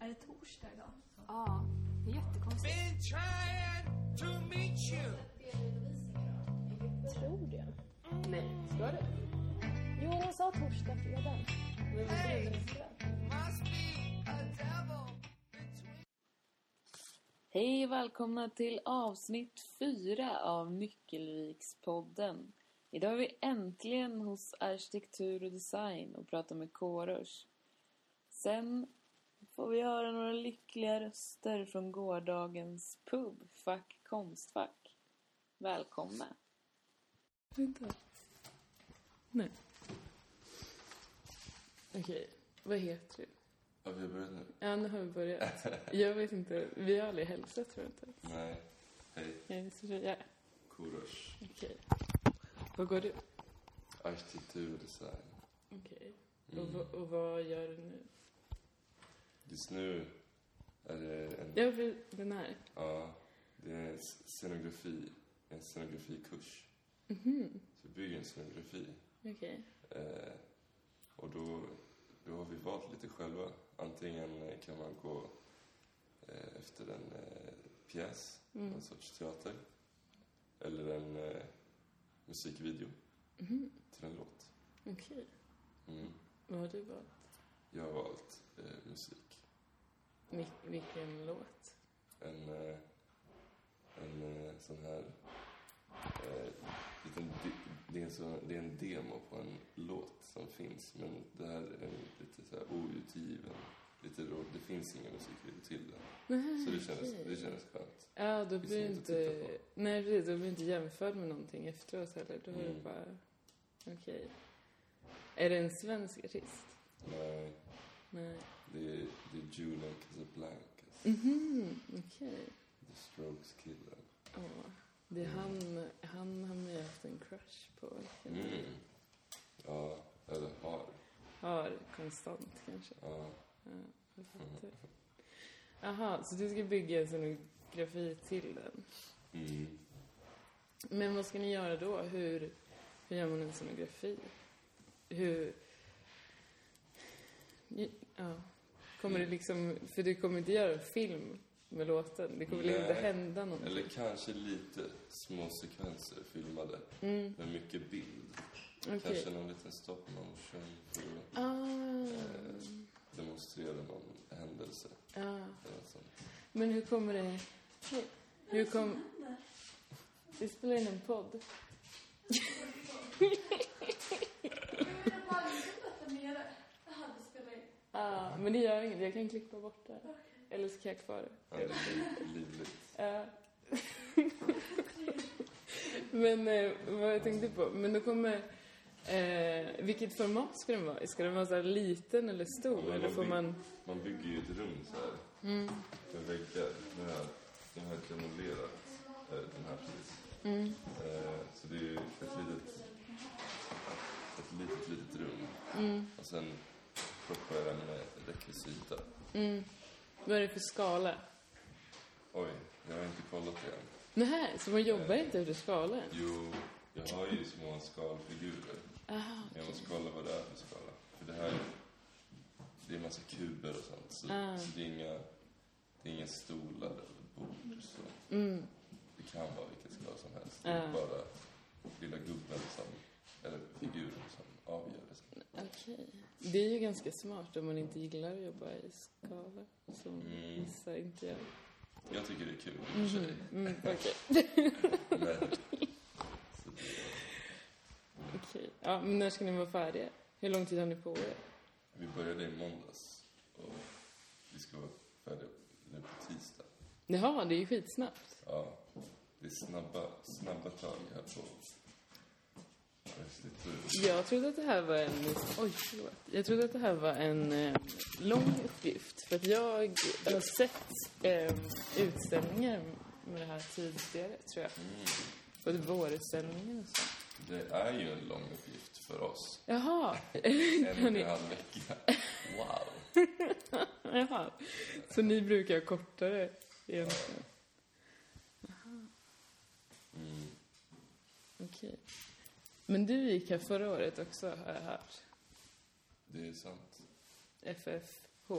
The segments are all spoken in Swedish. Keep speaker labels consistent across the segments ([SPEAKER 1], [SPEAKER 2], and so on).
[SPEAKER 1] torsdag idag.
[SPEAKER 2] Ja, det är jättekonstigt.
[SPEAKER 3] Been trying to meet you.
[SPEAKER 4] Tror det. Nej, ska det? Jo, hon sa torsdag, fredag. Men vad är det för fredag?
[SPEAKER 3] Must be a devil between.
[SPEAKER 5] Hej och välkomna till avsnitt fyra av Nyckelvikspodden. Idag är vi äntligen hos Arkitektur och Design och pratar med Kårush. Sen får vi höra några lyckliga röster från gårdagens pub, Fack Konstfack. Välkomna!
[SPEAKER 6] Vänta. Nej. Okej, vad heter du?
[SPEAKER 7] Har vi börjat nu?
[SPEAKER 6] Ja, nu har vi börjat. Jag vet inte, vi har aldrig hälsat tror jag inte.
[SPEAKER 7] Nej. Hej.
[SPEAKER 6] Jag är Sofia.
[SPEAKER 7] Korosh.
[SPEAKER 6] Okej. Vad går du?
[SPEAKER 7] Arkitektur och design. Mm.
[SPEAKER 6] Okej. Och, va- och vad gör du nu?
[SPEAKER 7] Just nu är det en...
[SPEAKER 6] Ja, för den här.
[SPEAKER 7] Ja, det är en scenografi. En scenografikurs.
[SPEAKER 6] Mhm.
[SPEAKER 7] Så vi bygger en scenografi.
[SPEAKER 6] Okej.
[SPEAKER 7] Eh, och då, då har vi valt lite själva. Antingen eh, kan man gå eh, efter en eh, pjäs,
[SPEAKER 6] Mm.
[SPEAKER 7] någon sorts teater. Eller en eh, musikvideo
[SPEAKER 6] Mhm.
[SPEAKER 7] till en låt.
[SPEAKER 6] Okej.
[SPEAKER 7] Mm.
[SPEAKER 6] Vad har du valt?
[SPEAKER 7] Jag har valt eh, musik.
[SPEAKER 6] Vil- vilken låt?
[SPEAKER 7] en, eh, en eh, sån här... Eh, liten, de- det, är en sån, det är en demo på en låt som finns, men det här är lite så här outgiven. Lite rå, det finns ingen musikvideo till den. Så det kändes,
[SPEAKER 6] Mm,
[SPEAKER 7] det kändes skönt.
[SPEAKER 6] Ja, då
[SPEAKER 7] finns
[SPEAKER 6] blir du
[SPEAKER 7] inget att titta
[SPEAKER 6] inte... Nej, precis. Då blir du inte jämförd med någonting efteråt heller. Då har du
[SPEAKER 7] Mm.
[SPEAKER 6] bara... Okej. Är det en svensk artist?
[SPEAKER 7] Nej,
[SPEAKER 6] Nej.
[SPEAKER 7] Eh, det är, det är Julian Casablancas,
[SPEAKER 6] Mhm, okej.
[SPEAKER 7] The Strokes-killen.
[SPEAKER 6] Ja, det är han, han har man ju haft en crush på.
[SPEAKER 7] Mm. Ja, eller har.
[SPEAKER 6] Har konstant kanske.
[SPEAKER 7] Ja, Mm.
[SPEAKER 6] Ja, jag fattar. Aha, så du ska bygga en scenografi till den.
[SPEAKER 7] mm.
[SPEAKER 6] Men vad ska ni göra då? Hur, hur gör man en scenografi? Hur... Ja. Kommer det liksom... För du kommer inte göra en film med låten. Det kommer väl inte
[SPEAKER 7] Nej.
[SPEAKER 6] hända någonting?
[SPEAKER 7] Eller kanske lite små sekvenser filmade
[SPEAKER 6] Mm,
[SPEAKER 7] med mycket bild.
[SPEAKER 6] okej.
[SPEAKER 7] Kanske någon liten stop motion för att
[SPEAKER 6] Ah,
[SPEAKER 7] demonstrera någon händelse
[SPEAKER 6] ah.
[SPEAKER 7] eller något sånt.
[SPEAKER 6] Men hur kommer det... Hur kom... Vi spelar in en podd.
[SPEAKER 1] Jag ville bara liksom att de gör det. Jaha, du spelar in.
[SPEAKER 6] Ah, men det gör inget, jag kan klippa bort det. Eller så kan jag ha kvar
[SPEAKER 7] Ja,
[SPEAKER 6] det. Eh.
[SPEAKER 7] det är li- livligt.
[SPEAKER 6] Ja. men eh, vad jag tänkte på, men då kommer... Eh, vilket format ska den vara i? Ska den vara så här liten eller stor?
[SPEAKER 7] Ja, men
[SPEAKER 6] eller
[SPEAKER 7] de
[SPEAKER 6] får
[SPEAKER 7] vill-
[SPEAKER 6] man...
[SPEAKER 7] Man bygger ju ett rum så här
[SPEAKER 6] Mm,
[SPEAKER 7] med väggar. Den här, den här granulerat, eh, den här precis.
[SPEAKER 6] mm,
[SPEAKER 7] Eh, Så det är ju ett litet, ett litet, litet rum.
[SPEAKER 6] mm,
[SPEAKER 7] Och sen proppar jag den med rekvisita.
[SPEAKER 6] mm. Vad är det för skala?
[SPEAKER 7] Oj, jag har inte kollat det än.
[SPEAKER 6] Nähä, så man jobbar inte efter skala?
[SPEAKER 7] Jo, jag har ju små skalfigurer.
[SPEAKER 6] Aha,
[SPEAKER 7] Jag måste kolla vad det är för skala. För det här, det är massa kuber och sånt. Så,
[SPEAKER 6] Ah.
[SPEAKER 7] så det, är inga, det är inga stolar eller bord. Så
[SPEAKER 6] mm.
[SPEAKER 7] det kan vara vilken skala som helst. Det är
[SPEAKER 6] Ah.
[SPEAKER 7] bara lilla gubben som, eller figuren som avgör det. sen.
[SPEAKER 6] Okej. Det är ju ganska smart om man inte gillar att jobba i skala. Som
[SPEAKER 7] Mm.
[SPEAKER 6] vissa inte gör.
[SPEAKER 7] Jag tycker det är kul i och för sig.
[SPEAKER 6] Mm, Okej.
[SPEAKER 7] Men, så
[SPEAKER 6] Okej. Ja, men när ska ni vara färdiga? Hur lång tid har ni på er?
[SPEAKER 7] det, vi började i måndags och vi ska vara färdiga nu på tisdag.
[SPEAKER 6] Jaha, det är ju skitsnabbt.
[SPEAKER 7] Ja, det är snabba, snabba tag här på arkitektur.
[SPEAKER 6] Jag trodde att det här var en... Oj, förlåt. Jag trodde att det här var en eh, lång uppgift. För att jag har sett eh, utställningar med det här tidigare, tror jag.
[SPEAKER 7] Mm.
[SPEAKER 6] Både vårutställningen och så.
[SPEAKER 7] Det är ju en lång uppgift för oss.
[SPEAKER 6] Jaha.
[SPEAKER 7] En och en halv vecka. Wow.
[SPEAKER 6] Jaha. Så ni brukar ha kortare egentligen?
[SPEAKER 7] Mm.
[SPEAKER 6] Okej. Men du gick här förra året också, har jag hört.
[SPEAKER 7] Det är sant.
[SPEAKER 6] FFH.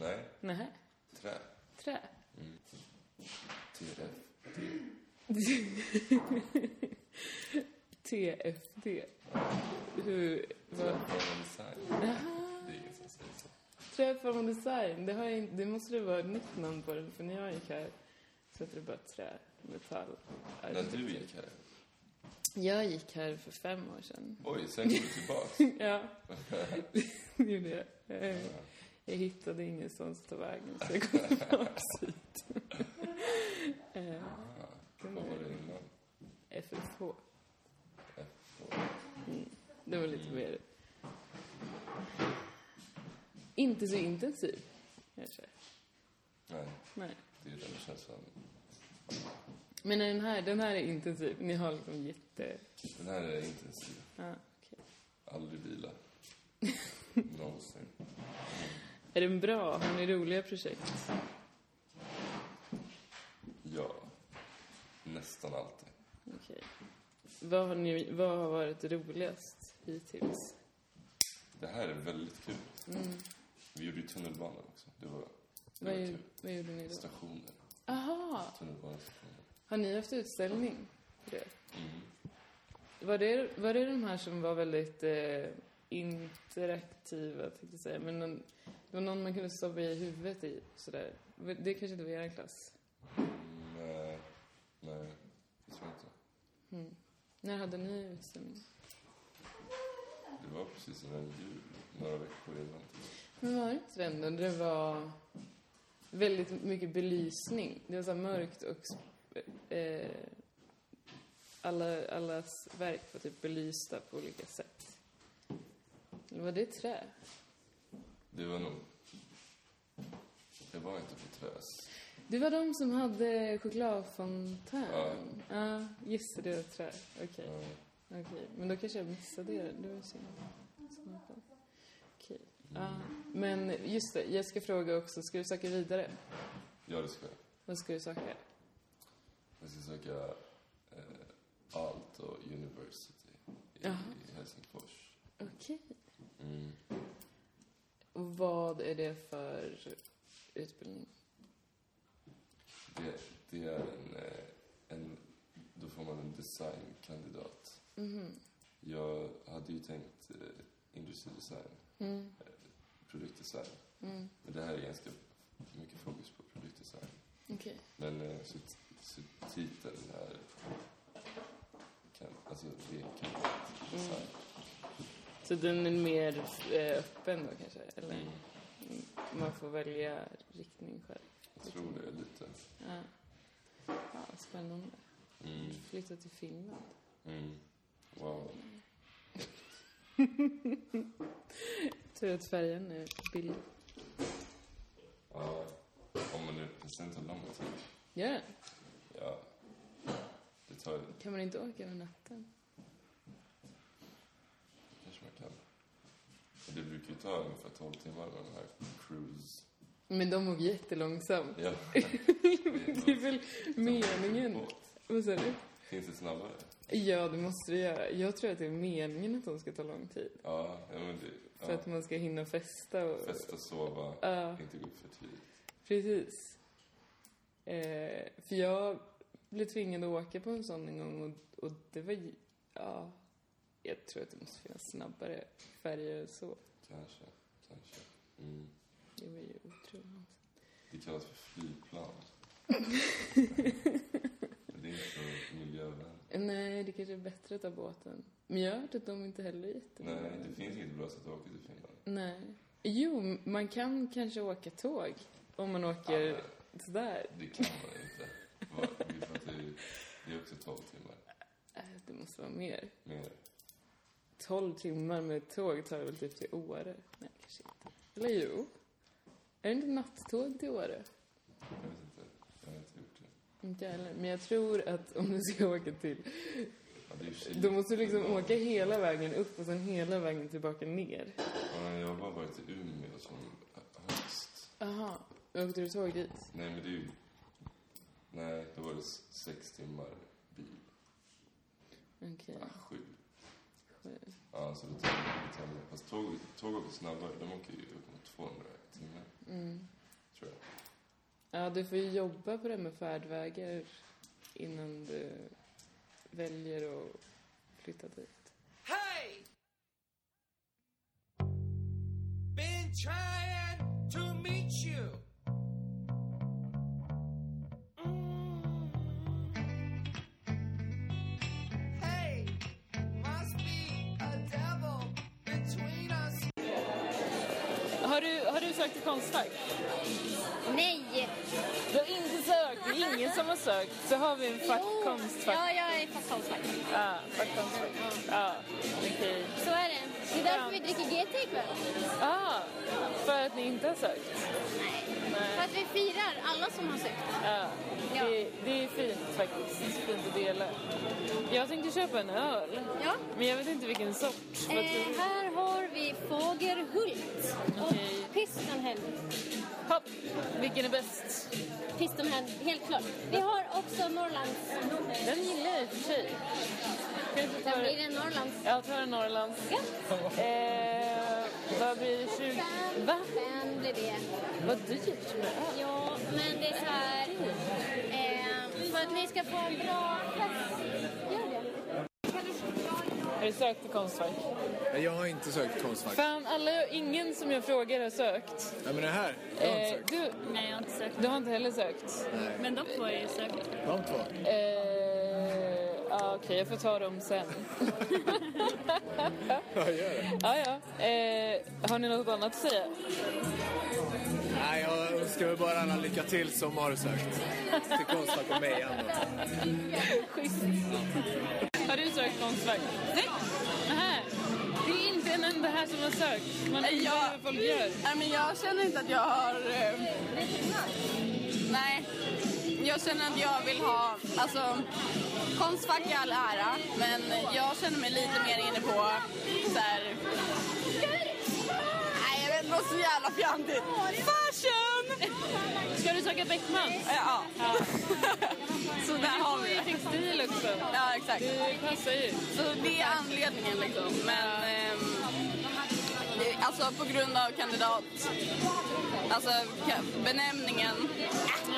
[SPEAKER 7] Nej,
[SPEAKER 6] Nähä.
[SPEAKER 7] Trä.
[SPEAKER 6] Trä.
[SPEAKER 7] Mm. TF.
[SPEAKER 6] TFD. Hur... Vad?
[SPEAKER 7] Träform design. Det är ingen som säger så.
[SPEAKER 6] Träform design. Det, har jag, in- det måste det vara ett nytt namn på den, för när jag gick här så hette det bara trä, metall,
[SPEAKER 7] När du gick här.
[SPEAKER 6] Jag gick här för fem år sedan.
[SPEAKER 7] Oj, sen kom du tillbaks.
[SPEAKER 6] Ja, det gjorde jag. Jag, jag hittade ingenstans att ta vägen så jag kom tillbaks hit. Eh,
[SPEAKER 7] Ah, vad var det innan?
[SPEAKER 6] FFH.
[SPEAKER 7] F-
[SPEAKER 6] Mm. Det var lite mer... Inte så intensiv, kanske.
[SPEAKER 7] Nej,
[SPEAKER 6] Nej.
[SPEAKER 7] det är ju den känslan.
[SPEAKER 6] Men den här, den här är intensiv. Ni har liksom jätte...
[SPEAKER 7] Den här är intensiv.
[SPEAKER 6] Ja, okej.
[SPEAKER 7] Aldrig vila. Någonsin.
[SPEAKER 6] Är den bra? Har ni roliga projekt?
[SPEAKER 7] Ja. Nästan alltid.
[SPEAKER 6] Okej. Vad, har ni, vad har varit roligast hittills?
[SPEAKER 7] Det här är väldigt kul. Vi gjorde ju tunnelbanan också. Det var, det var
[SPEAKER 6] Mm. Vad, ju,
[SPEAKER 7] kul.
[SPEAKER 6] vad gjorde ni då?
[SPEAKER 7] Stationer.
[SPEAKER 6] Aha!
[SPEAKER 7] Tunnelbanestationer.
[SPEAKER 6] Har ni haft utställning? för Det?
[SPEAKER 7] Mm.
[SPEAKER 6] Var, det, var det de här som var väldigt eh, interaktiva, tänkte jag säga? Men någon, det var någon man kunde stoppa i huvudet i, sådär. Det kanske inte var er klass?
[SPEAKER 7] Mm, eh, nej, det tror jag inte.
[SPEAKER 6] Mm. När hade ni utställning?
[SPEAKER 7] Det var precis innan jul, några veckor innan.
[SPEAKER 6] Men var det inte det ändå? Det var väldigt mycket belysning. Det var så här mörkt och sp- eh, alla, allas verk var typ belysta på olika sätt. Eller var det trä?
[SPEAKER 7] Det var nog... Det var inte på Träs.
[SPEAKER 6] Det var de som hade chokladfontän?
[SPEAKER 7] Ja.
[SPEAKER 6] Ja, just det, det var trä. Okej.
[SPEAKER 7] Eh,
[SPEAKER 6] Okej, men då kanske jag missade det. Det var synd. Okej. Ja,
[SPEAKER 7] Mm.
[SPEAKER 6] men just det, jag ska fråga också, ska du söka vidare?
[SPEAKER 7] Ja, det ska jag.
[SPEAKER 6] Vad ska du söka?
[SPEAKER 7] Jag ska söka eh, Aalto University i,
[SPEAKER 6] Jaha.
[SPEAKER 7] i Helsingfors.
[SPEAKER 6] Okej.
[SPEAKER 7] Mm.
[SPEAKER 6] Och vad är det för utbildning?
[SPEAKER 7] Det, det är en, eh, en... Då får man en designkandidat.
[SPEAKER 6] Mhm.
[SPEAKER 7] Jag hade ju tänkt eh, industridesign,
[SPEAKER 6] Mm.
[SPEAKER 7] produktdesign.
[SPEAKER 6] Mm.
[SPEAKER 7] Men det här är ganska mycket fokus på produktdesign.
[SPEAKER 6] Okej.
[SPEAKER 7] Men eh, så, så titeln är... Kan, alltså, det kan design.
[SPEAKER 6] Mm. Så den är mer eh, öppen då kanske? Eller
[SPEAKER 7] Mm.
[SPEAKER 6] man får välja riktning själv?
[SPEAKER 7] Jag tror det är lite.
[SPEAKER 6] Ja. ja spännande.
[SPEAKER 7] Mm.
[SPEAKER 6] Flytta till Finland.
[SPEAKER 7] Mm. Wow.
[SPEAKER 6] Tur att färjan är billig.
[SPEAKER 7] Ja. Om man nu... Det tar inte lång tid.
[SPEAKER 6] Gör den?
[SPEAKER 7] Ja. Det tar...
[SPEAKER 6] Kan man inte åka över natten?
[SPEAKER 7] kanske man kan. Men Det brukar ju ta ungefär 12 timmar med de här cruise...
[SPEAKER 6] Men de åker jättelångsamt.
[SPEAKER 7] Ja.
[SPEAKER 6] Det är väl meningen? Vad sa du?
[SPEAKER 7] Finns det snabbare?
[SPEAKER 6] Ja, det måste det göra. Jag tror att det är meningen att de ska ta lång tid.
[SPEAKER 7] Ja, ja men det...
[SPEAKER 6] För
[SPEAKER 7] Ja.
[SPEAKER 6] att man ska hinna festa och...
[SPEAKER 7] Festa, sova,
[SPEAKER 6] Ja,
[SPEAKER 7] inte gå upp för tidigt.
[SPEAKER 6] precis. Eh, för jag blev tvingad att åka på en sån en gång och, och det var... ju- Ja, jag tror att det måste finnas snabbare färger än så.
[SPEAKER 7] Kanske, kanske. Mm.
[SPEAKER 6] Det var ju otroligt.
[SPEAKER 7] Det kallas för flygplan. Men det är inte så miljövänligt.
[SPEAKER 6] Nej, det kanske är bättre att ta båten. Men jag har hört att de inte heller är jättemycket.
[SPEAKER 7] Nej, det finns inget bra sätt att åka till Finland.
[SPEAKER 6] Nej. Jo, man kan kanske åka tåg om man åker
[SPEAKER 7] Ah,
[SPEAKER 6] sådär.
[SPEAKER 7] Det kan man inte. Va- Vi pratar ju... Det är också 12 timmar.
[SPEAKER 6] Äh, Det måste vara mer.
[SPEAKER 7] Mer.
[SPEAKER 6] 12 timmar med tåg tar väl typ till Åre? Nej, kanske inte. Eller jo. Är det inte nattåg till Åre?
[SPEAKER 7] Jag vet inte. Jag har inte gjort det.
[SPEAKER 6] Inte jag heller. Men jag tror att om du ska åka till...
[SPEAKER 7] Ja, det är ju Kil-
[SPEAKER 6] Då måste du liksom
[SPEAKER 7] Finland.
[SPEAKER 6] åka hela vägen upp och sen hela vägen tillbaka ner.
[SPEAKER 7] Ja, jag har bara varit i Umeå som högst.
[SPEAKER 6] Aha. Åkte du tåg dit?
[SPEAKER 7] Nej, men det är ju... Nej, då var det s- sex timmar bil.
[SPEAKER 6] Okej.
[SPEAKER 7] Ah, sju.
[SPEAKER 6] Sju.
[SPEAKER 7] Ja, så det tar lite timmar. Fast tåg, tåg åker snabbare. De åker ju upp mot 200 timmar,
[SPEAKER 6] Mm.
[SPEAKER 7] tror jag.
[SPEAKER 6] Ja, du får ju jobba på det med färdvägar innan du väljer att flytta dit.
[SPEAKER 3] Hey! Been trying to meet you. Hey, must be a devil between us.
[SPEAKER 6] Har du, har du sökt till Konstfack?
[SPEAKER 8] Nej!
[SPEAKER 6] Du har inte sökt, det är ingen som har sökt. Så har vi en fack
[SPEAKER 8] Jo.
[SPEAKER 6] Konstfack.
[SPEAKER 8] Ja, jag är fast konstfack.
[SPEAKER 6] Ja, fack Konstfack. Ja, okej.
[SPEAKER 8] Så är det. Det är därför vi dricker GT ikväll.
[SPEAKER 6] Ah, för att ni inte har sökt?
[SPEAKER 8] För att vi firar alla som har sökt.
[SPEAKER 6] Ja.
[SPEAKER 8] Ja.
[SPEAKER 6] Det, det är fint faktiskt. Fint att dela. Jag tänkte köpa en öl,
[SPEAKER 8] Ja.
[SPEAKER 6] men jag vet inte vilken sorts. Vad tror
[SPEAKER 8] Eh,
[SPEAKER 6] du?
[SPEAKER 8] här har vi Fagerhult
[SPEAKER 6] Okej.
[SPEAKER 8] och Pistonhead. Eh.
[SPEAKER 6] Hopp! Vilken är bäst?
[SPEAKER 8] Pistonhead, helt klart. Vi har också Norrlands.
[SPEAKER 6] Den gillar jag i och för sig. Kanske
[SPEAKER 8] Sen blir
[SPEAKER 6] tar...
[SPEAKER 8] det Norrlands.
[SPEAKER 6] Jag tar en Norrlands.
[SPEAKER 8] Ja.
[SPEAKER 6] Eh, vad blir det? 20?
[SPEAKER 8] Sen,
[SPEAKER 6] Va?
[SPEAKER 8] sen blir det.
[SPEAKER 6] Vad dyrt med öl.
[SPEAKER 8] Ja, men det är så här... Eh, för att ni ska få en bra fest. Gör det.
[SPEAKER 6] Har du sökt till Konstfack?
[SPEAKER 9] Nej, Jag har inte sökt Konstfack.
[SPEAKER 6] Fan, alla, ingen som jag frågar har sökt.
[SPEAKER 9] Nej, men det här. Jag har inte
[SPEAKER 6] Eh,
[SPEAKER 9] sökt.
[SPEAKER 6] du,
[SPEAKER 10] Nej, jag har inte sökt.
[SPEAKER 6] du har inte heller sökt?
[SPEAKER 10] Men de två har ju sökt.
[SPEAKER 9] De två.
[SPEAKER 6] Eh, ja, Eh, ah, Okej, jag får ta dem sen.
[SPEAKER 9] Ja, gör det.
[SPEAKER 6] Ja, Ah, ja. Eh, har ni något annat att säga?
[SPEAKER 9] Nej, jag önskar väl bara alla lycka till som har sökt. Till Konstfack och mig annars.
[SPEAKER 6] Har du sökt Konstfack? Nej. Nähä. Det är inte en enda här som har sökt. Man undrar
[SPEAKER 10] Ja.
[SPEAKER 6] vad folk gör.
[SPEAKER 10] Nej, men jag känner inte att jag har... Eh, nej. Jag känner att jag vill ha... Alltså, konstfack i all ära, men jag känner mig lite mer inne på så här... Nej, jag vet inte. något så jävla fjantigt. Fashion!
[SPEAKER 6] Ska du söka Beckman?
[SPEAKER 10] Ja. Så där har vi
[SPEAKER 6] Du är
[SPEAKER 10] det.
[SPEAKER 6] textil också.
[SPEAKER 10] Ja, exakt.
[SPEAKER 6] Det passar ju.
[SPEAKER 10] Så det är anledningen liksom. Men ehm, det- alltså på grund av kandidat, alltså ka- benämningen.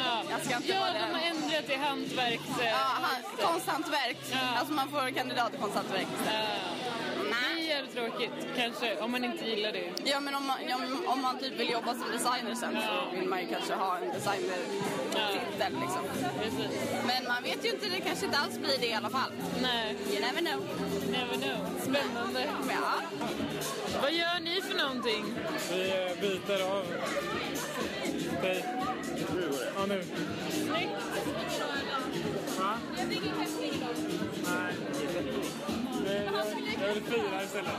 [SPEAKER 6] Ja,
[SPEAKER 10] Jag ska inte
[SPEAKER 6] ja
[SPEAKER 10] vara
[SPEAKER 6] de har
[SPEAKER 10] det.
[SPEAKER 6] ändrat till hantverks...
[SPEAKER 10] Ja,
[SPEAKER 6] Eh,
[SPEAKER 10] han, konsthantverk.
[SPEAKER 6] Ja.
[SPEAKER 10] Alltså man får kandidat i konsthantverk.
[SPEAKER 6] det är
[SPEAKER 10] Nej.
[SPEAKER 6] jävligt tråkigt, kanske, om man inte gillar det.
[SPEAKER 10] Ja men om man, ja, men om man typ vill jobba som designer sen så vill man ju kanske ha en designer-titel liksom.
[SPEAKER 6] Precis.
[SPEAKER 10] Men man vet ju inte, det kanske inte alls blir det i alla fall.
[SPEAKER 6] Nej,
[SPEAKER 10] You never know.
[SPEAKER 6] never know. Spännande.
[SPEAKER 10] Ja.
[SPEAKER 6] Vad gör ni för någonting?
[SPEAKER 11] Vi eh, byter av dig. Ja, nu. Va? Nej. Nej, jag- Jag vill fira istället.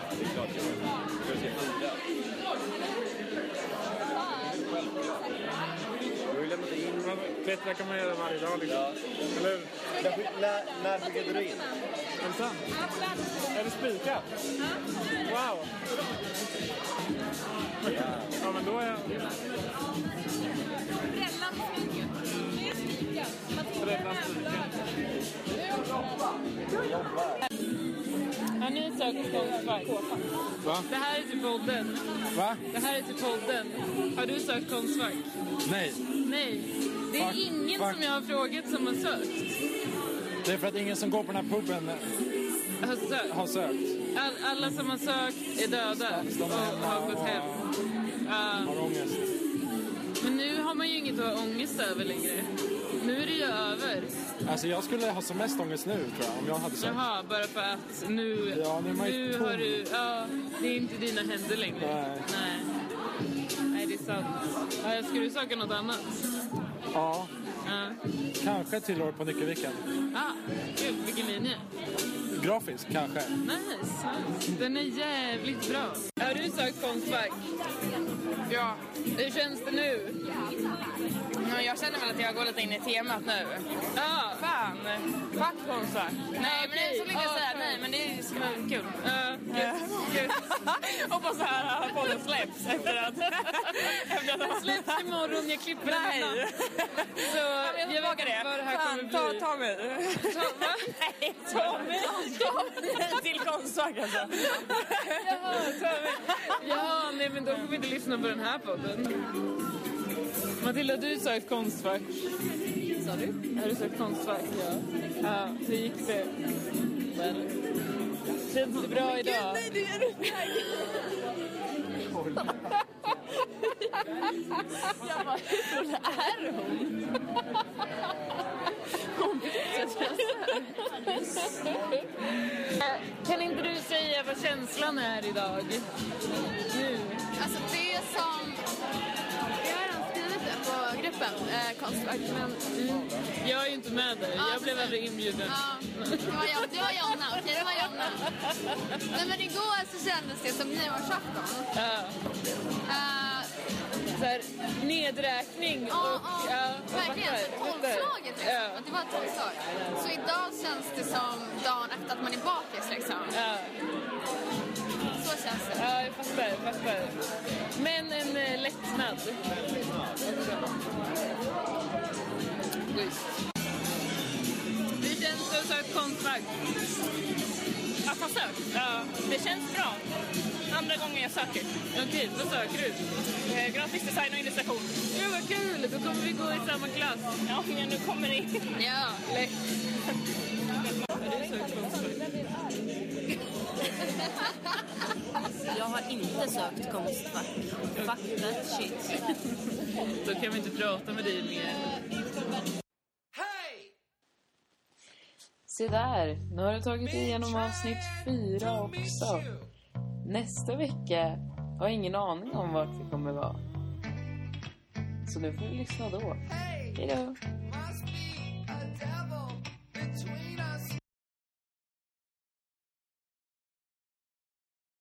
[SPEAKER 11] Men Bättre kan man göra varje dag liksom. Eller hur?
[SPEAKER 9] När skickade du in?
[SPEAKER 11] Är det sant? Är det spikat? Wow! Ja, men då är jag... Brännan spikat.
[SPEAKER 6] Har ni sökt Konstfack?
[SPEAKER 11] Va?
[SPEAKER 6] Det här är till podden.
[SPEAKER 11] Va?
[SPEAKER 6] Det här är till podden. Har du sökt Konstfack?
[SPEAKER 11] Nej,
[SPEAKER 6] Nej. Det är
[SPEAKER 11] Fuck,
[SPEAKER 6] ingen
[SPEAKER 11] fuck.
[SPEAKER 6] som jag har frågat som har sökt.
[SPEAKER 11] det är för att ingen som går på den här puben
[SPEAKER 6] Har sökt.
[SPEAKER 11] har sökt.
[SPEAKER 6] All, alla som har sökt är döda och har gått hem. Ja,
[SPEAKER 11] Har ångest.
[SPEAKER 6] men nu har man ju inget att ha ångest över längre. Nu är det ju över.
[SPEAKER 11] Alltså jag skulle ha som mest ångest nu tror jag, om jag hade sökt.
[SPEAKER 6] Jaha, bara för att nu,
[SPEAKER 11] Ja, nu är man ju
[SPEAKER 6] nu
[SPEAKER 11] tom.
[SPEAKER 6] har du... Ja, det är inte dina händer längre.
[SPEAKER 11] Nej.
[SPEAKER 6] Nej, Nej, det är sant. Ja, ska du söka något annat?
[SPEAKER 11] Ja,
[SPEAKER 6] Ja.
[SPEAKER 11] kanske ett till år på Nyckelviken.
[SPEAKER 6] Ah, gud, vilken linje.
[SPEAKER 11] Grafisk kanske.
[SPEAKER 6] Nice. Den är jävligt bra. Har du sökt Konstfack?
[SPEAKER 10] ja.
[SPEAKER 6] Hur känns det nu?
[SPEAKER 10] Men Jag känner väl att jag går lite in i temat nu.
[SPEAKER 6] Ja,
[SPEAKER 10] Fan! Fuck Konstfack! Nej,
[SPEAKER 6] okej.
[SPEAKER 10] men än så länge
[SPEAKER 6] Ja,
[SPEAKER 10] så här,
[SPEAKER 6] fan.
[SPEAKER 10] nej, men det ska vara kul.
[SPEAKER 6] ja, gött, gött.
[SPEAKER 10] Hoppas det här har podden släpps efter att... efter att
[SPEAKER 6] Den släpps imorgon, jag klipper den
[SPEAKER 10] Nej!
[SPEAKER 6] i natt. Så jag vet inte vad
[SPEAKER 10] tillbaka det.
[SPEAKER 6] det här kommer
[SPEAKER 10] Fan, ta
[SPEAKER 6] bli.
[SPEAKER 10] Tommy.
[SPEAKER 6] Ta- va?
[SPEAKER 10] Nej, Tommy! Tommy till Konstfack alltså.
[SPEAKER 6] Jaha, ta mig. Ja, nej men då får vi inte lyssna på den här podden. Matilda, du sa ett konstfack. Sa du? Har du sagt konstfack? Ja. ja. Hur gick det? Väl. Känns det bra idag?
[SPEAKER 3] nej, det är
[SPEAKER 2] Jag bara, hur är hon? Hon
[SPEAKER 6] Kan inte du säga vad känslan är idag? Nu.
[SPEAKER 10] Alltså det som... Vi har redan skrivit det på gruppen, eh, konstverk, men...
[SPEAKER 6] Jag är ju inte med där.
[SPEAKER 10] Ja,
[SPEAKER 6] Jag blev
[SPEAKER 10] precis.
[SPEAKER 6] aldrig inbjuden.
[SPEAKER 10] Ja, det var, jag, det var Jonna, okej det var Jonna. Nej men igår så kändes det som nyårsafton.
[SPEAKER 6] Ja.
[SPEAKER 10] Eh,
[SPEAKER 6] Så här, nedräkning
[SPEAKER 10] Ja,
[SPEAKER 6] och...
[SPEAKER 10] ja,
[SPEAKER 6] och
[SPEAKER 10] verkligen.
[SPEAKER 6] fattar.
[SPEAKER 10] Så Tolvslaget liksom.
[SPEAKER 6] Ja.
[SPEAKER 10] Att det var ett tolvslag. Så idag känns det som dagen efter att man är bakis liksom. Så känns det.
[SPEAKER 6] Ja, jag fattar, jag fattar. Men en eh, lättnad. Schysst. Hur känns det att ta ett kontrakt?
[SPEAKER 12] Att ha sökt? Ja. Det känns bra. Andra gången jag söker.
[SPEAKER 6] Okej, vad söker du?
[SPEAKER 12] Eh, grafisk design och illustration.
[SPEAKER 6] Gud vad kul! Då kommer vi gå i samma klass.
[SPEAKER 12] Ja, men nu kommer det.
[SPEAKER 10] Ja.
[SPEAKER 6] Lätt. Du sa ett konstfack.
[SPEAKER 13] Jag har inte sökt konstfack. Fuck that shit.
[SPEAKER 6] Då kan vi inte prata med dig mer.
[SPEAKER 5] Se där, nu har du tagit dig igenom avsnitt fyra också. Nästa vecka har jag ingen aning om vart vi kommer vara. Så nu får du lyssna då. Hej då!